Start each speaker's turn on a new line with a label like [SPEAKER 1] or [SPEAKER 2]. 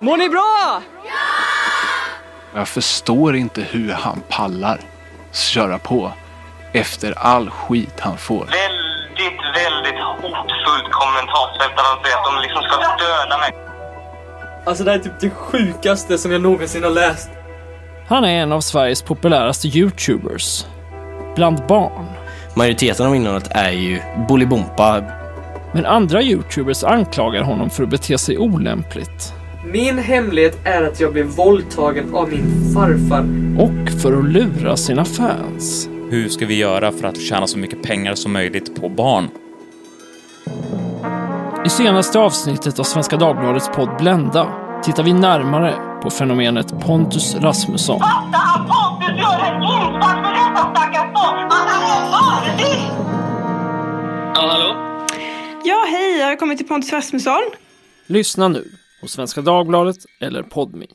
[SPEAKER 1] Mår ni bra?
[SPEAKER 2] Jag förstår inte hur han pallar köra på efter all skit han får.
[SPEAKER 3] Väldigt, väldigt hotfullt kommentarsfält där de säger att de liksom ska döda mig.
[SPEAKER 4] Alltså det här är typ det sjukaste som jag någonsin har läst.
[SPEAKER 5] Han är en av Sveriges populäraste YouTubers. Bland barn.
[SPEAKER 6] Majoriteten av innehållet är ju Bolibompa.
[SPEAKER 5] Men andra YouTubers anklagar honom för att bete sig olämpligt.
[SPEAKER 4] Min hemlighet är att jag blev våldtagen av min farfar.
[SPEAKER 5] Och för att lura sina fans.
[SPEAKER 7] Hur ska vi göra för att tjäna så mycket pengar som möjligt på barn?
[SPEAKER 5] I senaste avsnittet av Svenska Dagbladets podd Blenda tittar vi närmare på fenomenet Pontus Rasmusson.
[SPEAKER 8] Fatta att Pontus gör en insats för dessa stackars barn! Att han är farlig!
[SPEAKER 3] Ja, hallå?
[SPEAKER 9] Ja, hej, jag har kommit till Pontus Rasmusson.
[SPEAKER 5] Lyssna nu hos Svenska Dagbladet eller Podmi.